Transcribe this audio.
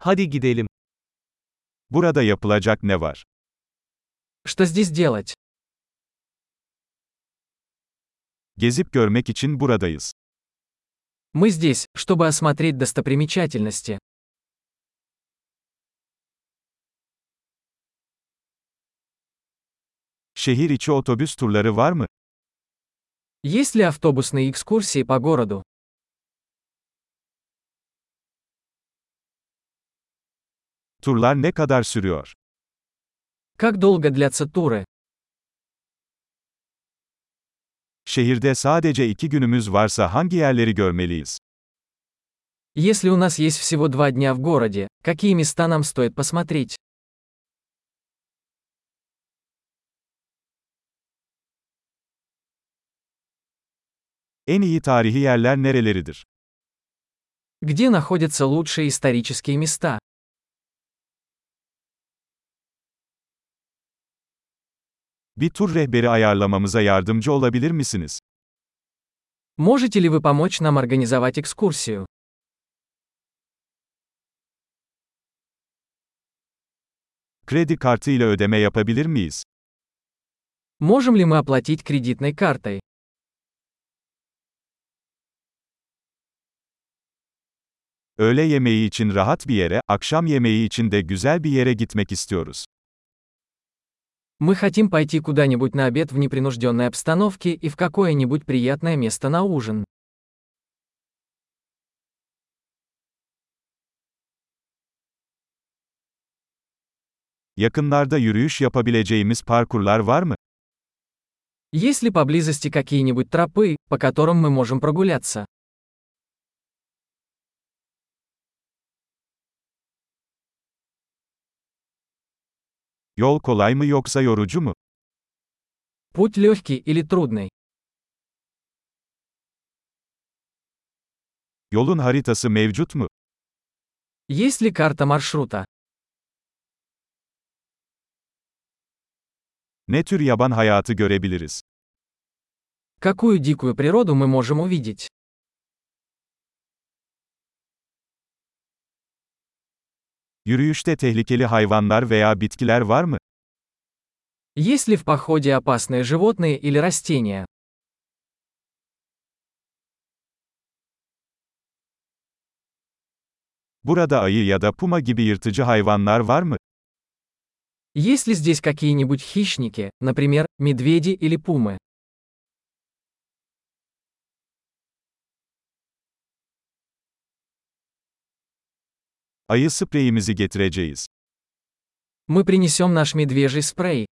Hadi gidelim. Burada yapılacak ne var? Что здесь делать? Gezip görmek için buradayız. Мы здесь, чтобы осмотреть достопримечательности. Şehir içi otobüs turları var mı? Есть ли автобусные экскурсии по городу? Turlar ne kadar sürüyor? Как долго длятся туры? Şehirde sadece iki günümüz varsa hangi yerleri görmeliyiz? Если у нас есть всего два дня в городе, какие места нам стоит посмотреть? En iyi tarihi yerler nereleridir? Где находятся лучшие исторические места? Bir tur rehberi ayarlamamıza yardımcı olabilir misiniz? Можете ли вы помочь нам организовать экскурсию? Kredi kartı ile ödeme yapabilir miyiz? Можем ли мы оплатить кредитной картой? Öğle yemeği için rahat bir yere, akşam yemeği için de güzel bir yere gitmek istiyoruz. Мы хотим пойти куда-нибудь на обед в непринужденной обстановке и в какое-нибудь приятное место на ужин. Yakınlarda yürüyüş yapabileceğimiz parkurlar var mı? Есть ли поблизости какие-нибудь тропы, по которым мы можем прогуляться? Yol kolay mı yoksa yorucu mu? Путь легкий или трудный? Yolun haritası mevcut mu? Есть ли карта маршрута? Ne tür yaban hayatı görebiliriz? Какую дикую природу мы можем увидеть? Yürüyüşte tehlikeli hayvanlar veya bitkiler var mı? Есть ли в походе опасные животные или растения? Burada ayı ya da puma gibi yırtıcı hayvanlar var mı? Есть ли здесь какие-нибудь хищники, например, медведи или пумы? Ayı spreyimizi getireceğiz. Мы принесем наш медвежий спрей.